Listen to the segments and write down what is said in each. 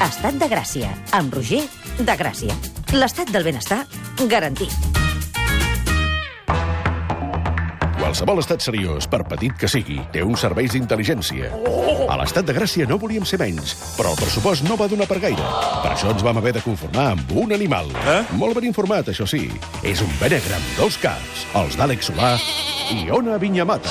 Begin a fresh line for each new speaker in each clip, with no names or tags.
l'estat de Gràcia, amb Roger de Gràcia. L'estat del benestar garantit.
Qualsevol estat seriós, per petit que sigui, té uns serveis d'intel·ligència. A l'estat de Gràcia no volíem ser menys, però el pressupost no va donar per gaire. Per això ens vam haver de conformar amb un animal. Eh? Molt ben informat, això sí. És un benegre amb dos caps, els d'Àlex Solà i Ona Vinyamata.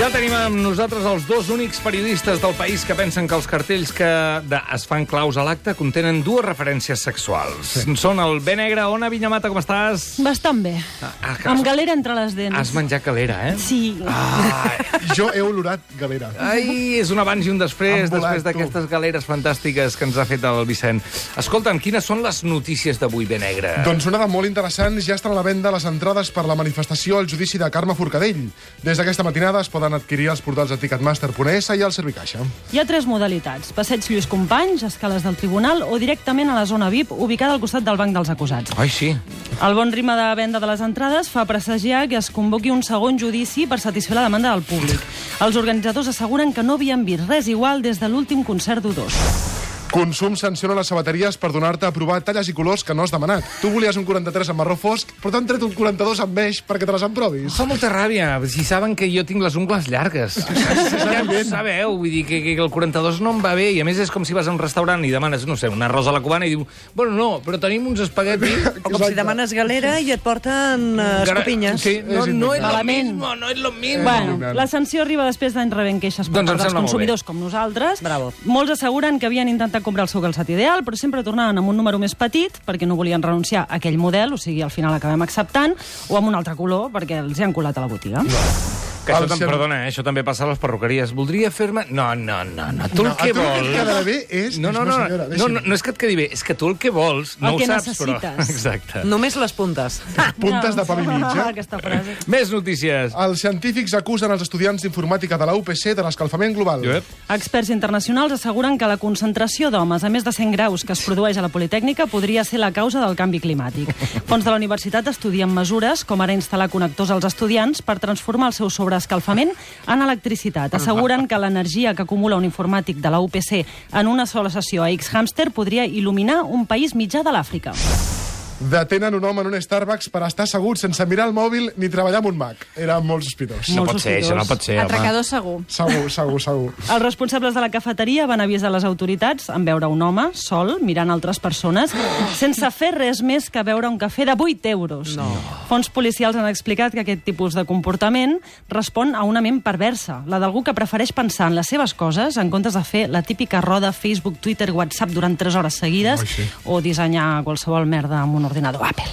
Ja tenim amb nosaltres els dos únics periodistes del país que pensen que els cartells que de, es fan claus a l'acte contenen dues referències sexuals. Sí. Són el B negre, Ona Vinyamata, com estàs?
Bastant bé.
ah, que-
Amb galera entre les dents.
Has menjat calera, eh?
Sí. Ah.
Jo he olorat galera.
Ai, és un abans i un després,
Han volat,
després d'aquestes galeres fantàstiques que ens ha fet el Vicent. Escolta'm, quines són les notícies d'avui, B negre?
Doncs una de molt interessant, ja estan a la venda les entrades per la manifestació al judici de Carme Forcadell. Des d'aquesta matinada es poden adquirir als portals de Ticketmaster.es i al Servicaixa.
Hi ha tres modalitats. Passeig Lluís Companys, escales del tribunal o directament a la zona VIP, ubicada al costat del banc dels acusats.
Ai, sí.
El bon ritme de venda de les entrades fa presagiar que es convoqui un segon judici per satisfer la demanda del públic. Els organitzadors asseguren que no havien vist res igual des de l'últim concert d'U2.
Consum sanciona les sabateries per donar-te a provar talles i colors que no has demanat. Tu volies un 43 amb marró fosc, però t'han tret un 42 amb beix perquè te les en
Em
provis.
Fa molta ràbia, si saben que jo tinc les ungles llargues. Ja ho sabeu, vull dir que, que el 42 no em va bé, i a més és com si vas a un restaurant i demanes, no sé, una arròs a la cubana i diu, bueno, no, però tenim uns espaguetis...
O com si demanes galera i et porten eh, escopinyes.
Sí, no, no és lo
Malament.
mismo, no és lo mismo.
Bueno, la sanció arriba després d'any rebent queixes
Doncs
per
em
part dels
sembla molt
consumidors com nosaltres.
Bravo.
Molts asseguren que havien intentat comprar el seu calçat ideal, però sempre tornaven amb un número més petit perquè no volien renunciar a aquell model, o sigui, al final acabem acceptant, o amb un altre color perquè els hi han colat a la botiga.
Que això,
El
tam,
ser-
perdona, eh, això també passa a les perruqueries. Voldria fer-me... No, no, no, no, tu el
No, a
que
tu el que et
vols...
quedarà bé és-
No, no,
no,
no,
senyora,
no,
deixi'm.
no, no és que et quedi bé, és que tu el que vols no
El
ho
que
saps, però...
necessites.
Exacte.
Només les puntes.
Puntes de pavi mitja.
Aquesta frase.
Més notícies.
Els científics acusen els estudiants d'informàtica de la UPC de l'escalfament global.
Joep?
Experts internacionals asseguren que la concentració d'homes a més de 100 graus que es produeix a la Politècnica podria ser la causa del canvi climàtic. Fons de la universitat estudien mesures com ara instal·lar connectors als estudiants per transformar el seu sobreescalfament en electricitat. Asseguren que l'energia que acumula un informàtic de la UPC en una sola sessió a X-Hamster podria il·luminar un país mitjà de l'Àfrica.
Detenen un home en un Starbucks per estar assegut sense mirar el mòbil ni treballar amb un Mac. Era molt sospitós.
No
Molt
pot ser, això no
sospitós.
pot ser, home.
Atracador segur.
Segur, segur, segur.
Els responsables de la cafeteria van avisar les autoritats en veure un home sol mirant altres persones sense fer res més que beure un cafè de 8 euros. No. Fons policials han explicat que aquest tipus de comportament respon a una ment perversa, la d'algú que prefereix pensar en les seves coses en comptes de fer la típica roda Facebook, Twitter, WhatsApp durant 3 hores seguides o dissenyar qualsevol merda amb un ordinador Apple.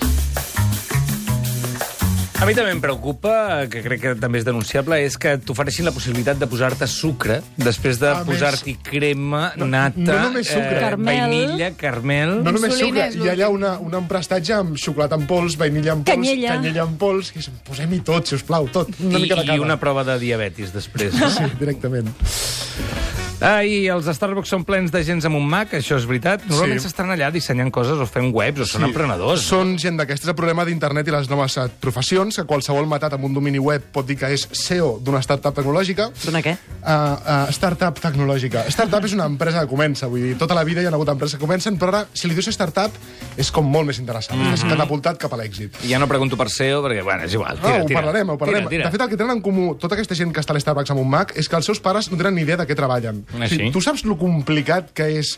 A mi també em preocupa, que crec que també és denunciable, és que t'ofereixin la possibilitat de posar-te sucre després de
A més-
posar-t'hi crema,
No,
nata,
no només sucre.
Carmel.
vainilla, carmel...
No només
Insulina
sucre,
és
hi ha allà una, un emprestatge amb xocolata en pols, vainilla en pols,
Canyella.
canyella en pols, i dicen, posem-hi tot, si us plau, tot, una
I,
mica de
I
cada.
una prova de diabetis després. No?
Sí, directament.
Ai, els Starbucks són plens de gens amb un Mac, això és veritat. Normalment
Sí.
s'estan allà dissenyant coses o fent webs o són emprenedors.
Són gent d'aquestes. El problema d'internet i les noves eh, professions, que qualsevol matat amb un domini web pot dir que és CEO d'una startup tecnològica.
D'una què?
Uh, uh, startup tecnològica. Startup és una empresa que comença, vull dir, tota la vida hi ha hagut empreses que comencen, però ara, si li dius startup, és com molt més interessant. Mm -hmm. És
Mhm.
catapultat cap a l'èxit.
I ja no pregunto per SEO, perquè, bueno, és igual. Tira,
ah, ho
tira.
parlarem, ho parlarem.
Tira, tira.
De fet, el que tenen en comú tota aquesta gent que està a l'Starbucks amb un Mac és que els seus pares no tenen ni idea de què treballen.
Ah,
O sigui,
sí?
tu saps lo complicat que és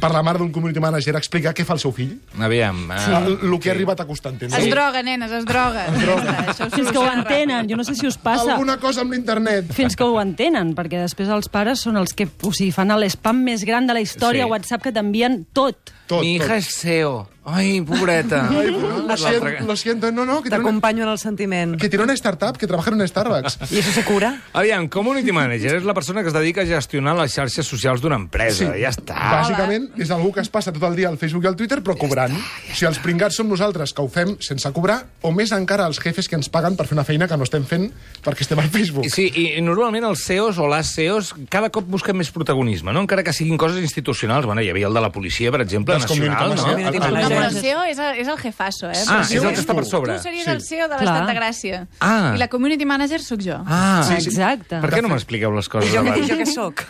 per la mare d'un community manager explicar què fa el seu fill?
Aviam. eh,
Ah, el que ha arribat a costar entendre.
Es droga, nenes, es droga. Això
Fins que ho
soluciona
entenen, jo no sé si us passa.
Alguna cosa amb l'internet.
Fins que ho entenen, perquè després els pares són els que o sigui, fan l'espam més gran de la història,
Sí.
sí. WhatsApp, que t'envien tot.
Tot,
Mi hija
tot.
es SEO. Ai, pobreta.
Ay, lo, siento,
L'altra-
lo siento, no, no, que tiene, una,
T'acompanyo en el sentiment.
que tiene una startup que trabaja en un Starbucks.
I això se cura?
Aviam, community manager és la persona que es dedica a gestionar les xarxes socials d'una empresa.
Sí.
Ja està.
Bàsicament, és algú que es passa tot el dia al Facebook i al Twitter, però cobrant. Si els pringats som nosaltres, que ho fem sense cobrar, o més encara els jefes que ens paguen per fer una feina que no estem fent perquè estem al
I
Facebook.
Sí, i, i normalment els CEOs o les CEOs cada cop busquen més protagonisme, no? encara que siguin coses institucionals. Bueno, hi havia el de la policia, per exemple,
Dels
nacional,
community
no?
managers.
Community
Doncs El- eh? el-
No, però el
Sí.
CEO és, el- és el jefasso, eh?
Ah,
Però
és
si
el
tu-
que està per sobre.
Tu series
Sí.
el CEO de
Clar.
l'estat de Gràcia.
Ah.
I la community manager sóc jo.
Ah,
Sí, sí.
Exacte.
per què no m'expliqueu les coses
Jo, que,
abans?
jo que sóc?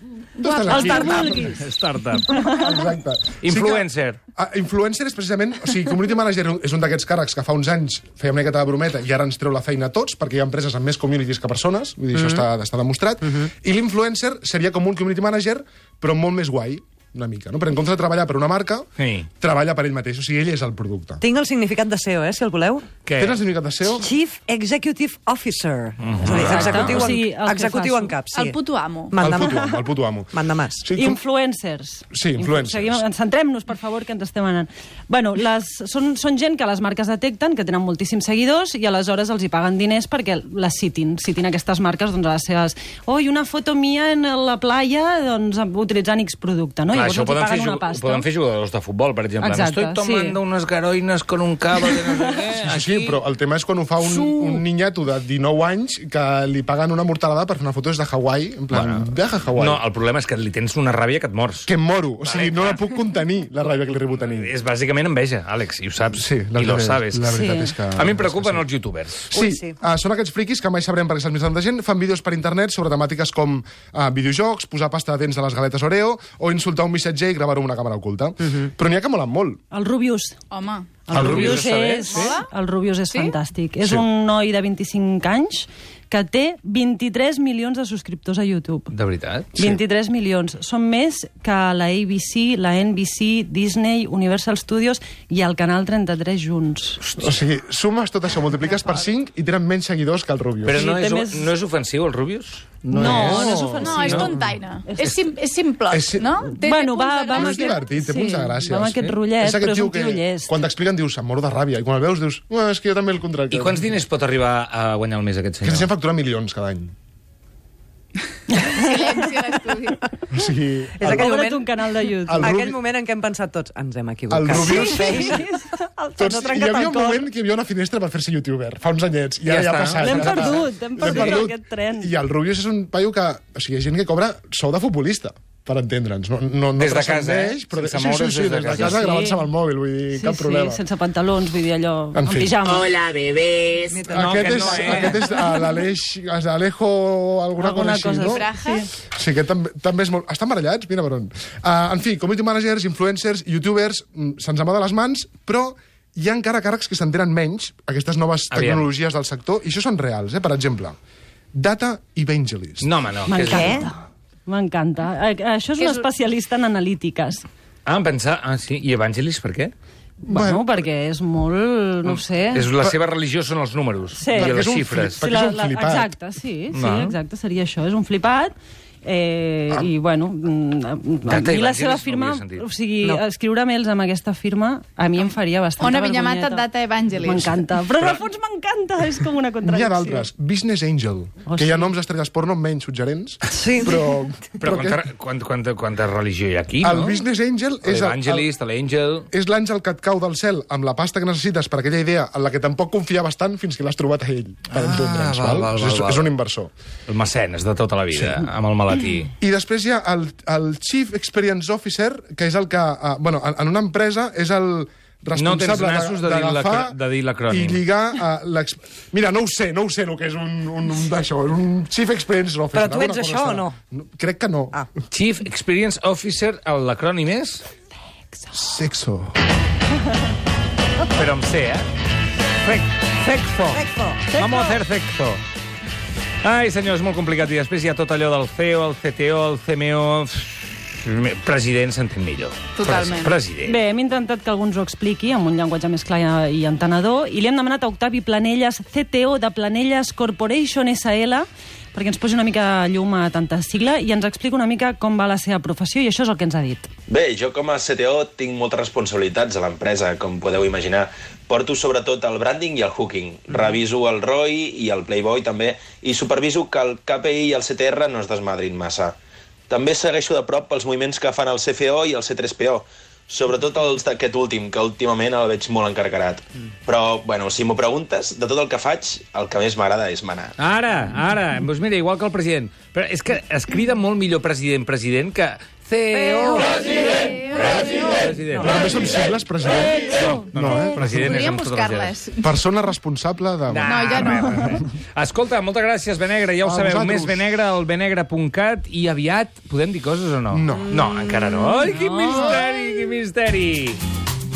Tu estàs
El
aquí.
que vulguis.
Startup.
Exacte.
Influencer.
Sí que, ah, influencer és precisament... O sigui, community manager és un d'aquests càrrecs que fa uns anys feia una miqueta de brometa i ara ens treu la feina a tots, perquè hi ha empreses amb més communities que persones, vull dir,
Mm.
això està, està demostrat,
Mm-hmm.
i l'influencer seria com un community manager, però molt més guai, una mica, no? Però en comptes de treballar per una marca,
Sí.
treballa per ell mateix, o sigui, ell és el producte.
Tinc el significat de CEO, eh, si el voleu.
Què?
Tens el significat de SEO?
Chief Executive Officer.
Mhm.
És a dir,
Exacte.
executiu,
O sigui, el
en,
que
executiu
faço.
en cap, sí.
El puto amo.
El
Mandamàs.
puto amo, el puto amo.
Mandamàs.
Sí, com...
Influencers.
Sí, influencers.
Seguim, centrem-nos, per favor, que ens estem anant. Bueno, les, són, són gent que les marques detecten, que tenen moltíssims seguidors, i aleshores els hi paguen diners perquè les citin, citin aquestes marques doncs, a les seves... Oi, una foto mia en la playa doncs, utilitzant X producte, no?
Clar,
Llavors
això ho
els hi
poden, fer,
paguen
ju-
una
ho
pasta.
poden fer jugadors de futbol, per exemple.
Exacte,
Estoy tomando
sí.
unas garoines con un cabo de no sé què.
Sí, sí, però el tema és quan ho fa un, un ninyato de 19 anys que li paguen una mortalada per fer una foto des de Hawaii, en plan, bueno, viaja a Hawaii.
No, el problema és que li tens una ràbia que et mors.
que em moro. O sigui, no la puc contenir, la ràbia que li arribo a tenir.
És bàsicament enveja, Àlex, i ho saps,
Sí, la
i lo
veritat és-
sabes.
la veritat
Sí.
és que-
A mi em preocupen els youtubers.
Sí,
Ui,
sí.
sí.
Uh, són aquests friquis que mai sabrem perquè se'ls mitjans de gent, fan vídeos per internet sobre temàtiques com uh, videojocs, posar pasta de dents a les galetes Oreo o insultar un missatger i gravar-ho amb una càmera oculta.
Mhm.
Però n'hi ha que molen molt.
El Rubius.
Home.
El,
El Rubius
Rubius,
està bé,
és,
sí?
el Rubius és
Sí?
fantàstic. És
Sí.
un noi de 25 anys que té 23 milions de subscriptors a YouTube.
De veritat?
23 milions. Són més que la ABC, la NBC, Disney, Universal Studios i el Canal 33 junts.
O sigui, sumes tot això, multipliques per 5 i tenen menys seguidors que el Rubius.
Però no
Sí,
és,
té més-
no és ofensiu, el Rubius?
No, no és, no és ofensiu.
No, és tontaina. És, sim, és simplot,
És si-
no?
Bueno, va- va
punts de
amb
Però
gràcia.
és
aquest-
divertit, té
sí,
punts de gràcia.
va amb aquest rotllet,
és aquest
però és
tio
un tio
que,
llest.
Quan t'expliquen dius, em moro de ràbia, i quan el veus dius, "Uah, és que jo també el contracte.
I quants diners pot arribar a guanyar el mes aquest
Que
senyor?
se'n factura milions cada any.
Silenci a l'estudi.
O sigui,
És aquell
Obre't
moment,
un canal de YouTube.
El
aquell
Rubi-
moment en què hem pensat tots, ens hem equivocat.
el Rubius...
El
Tots,
tots,
hi havia un moment que hi havia una finestra per fer-se youtuber, fa uns anyets, i
Ja
ara ja,
està.
ha passat.
L'hem
ja ha passat.
perdut, hem
L'hem
perdut aquest tren.
I el Rubius és un paio que... O sigui, hi ha gent que cobra sou de futbolista, per entendre'ns. No, no, no
Des de casa,
transcendeix,
eh?
Però
Sense
sí, sí,
moure's
sí, des de casa,
Sí, sí.
gravant-se amb el mòbil, vull dir,
Sí,
cap problema.
sí, sense pantalons, vull dir allò,
En
en,
fi.
pijama.
Hola, bebés.
No,
aquest,
que
és,
no, eh?
aquest és a l'Aleix, a l'Alejo, alguna,
Alguna cosa
cosa així, no?
fra-
Brajas.
Sí, que també, també és molt... Estan barallats? Mira per on. Uh, en fi, community managers, influencers, youtubers, mm, se'ns amaga les mans, però hi ha encara càrrecs que s'entenen menys, aquestes noves
Aviam.
tecnologies del sector, i això són reals, eh? Per exemple, data evangelist.
No, home, no. que és-
M'encanta. M'encanta. A- Això és
Que
un
és-
especialista en analítiques.
Ah, em pensava... Ah, sí. I Evangelis, per què?
Bueno, perquè és molt, no ho sé...
És la seva religió són els números
Sí.
i
Perquè
és
les
un
xifres.
flip. perquè és un flipat.
Exacte, sí, sí,
Va.
exacte, seria això, és un flipat. Eh, ah. i bueno mm, a
Data
mi la
Evangelis no
seva
ho
firma
havia sentit.
o sigui,
No.
no. escriure mails amb aquesta firma a mi em faria bastant
Ona Vinyamata, Data Evangelis.
m'encanta, però en el fons m'encanta és com una
N'hi ha
contradicció
d'altres. Business Angel,
Oh,
que hi ha
sí.
noms d'estrelles porno menys suggerents,
Sí.
però...
Però
que
quanta, quanta, quanta, quanta religió hi ha aquí,
el
no?
Business Angel és... el- el-
L'Evangelist, l'Àngel...
és l'àngel que et cau del cel amb la pasta que necessites per aquella idea en la que tampoc confiaves tant fins que l'has trobat a ell, per
Ah,
entendre'ns.
val, val, val,
és,
val.
és un inversor.
El mecenes de tota la vida, sí. amb el malatí.
I després hi ha el, el Chief Experience Officer, que és el que... Uh, bueno, en, en una empresa és el
No tens
responsable
nassos de dir
d'agafar
l'acro- de dir l'acrònim.
i lligar a l'ex... Mira, no ho sé, no ho sé el que és un, un, un d'això, un Chief Experience Officer.
Però tu ets
alguna cosa
això o
serà.
no?
Crec que no.
Ah.
Chief Experience Officer, el- l'acrònim és...
Sexo.
Però amb C, eh? Sexo. Vamos a hacer sexo. Ai, senyor, és molt complicat. I després hi ha tot allò del CEO, el CTO, el CMO... pff, President s'entén millor.
Totalment.
President.
Bé, hem intentat que algú ens ho expliqui amb un llenguatge més clar i entenedor i li hem demanat a Octavi Planelles, CTO de Planelles Corporation SL, perquè ens posi una mica llum a tanta sigla i ens explica una mica com va la seva professió i això és el que ens ha dit.
Bé, jo com a CTO tinc moltes responsabilitats a l'empresa, com podeu imaginar. Porto sobretot el branding i el hooking. Reviso el ROI i el Playboy també i superviso que el KPI i el CTR no es desmadrin massa. També segueixo de prop els moviments que fan el CFO i el C3PO, sobretot els d'aquest últim, que últimament el veig molt encarcarat. Però, bueno, si m'ho preguntes, de tot el que faig, el que més m'agrada és manar.
Ara, ara. Doncs mira, igual que el president. Però és que es crida molt millor president, president, que CEO. President.
E
Però també són sigles, president? No, no, eh?
President és
Podríem
amb totes
buscar-les.
lletres.
Persona responsable de...
No, ja no.
res, res, res. Escolta, moltes gràcies, Benegre. Ja ho
A
sabeu,
vosaltres.
més Benegre al benegre.cat i aviat podem dir coses o no?
No.
No, encara no. Ai, quin misteri, quin misteri.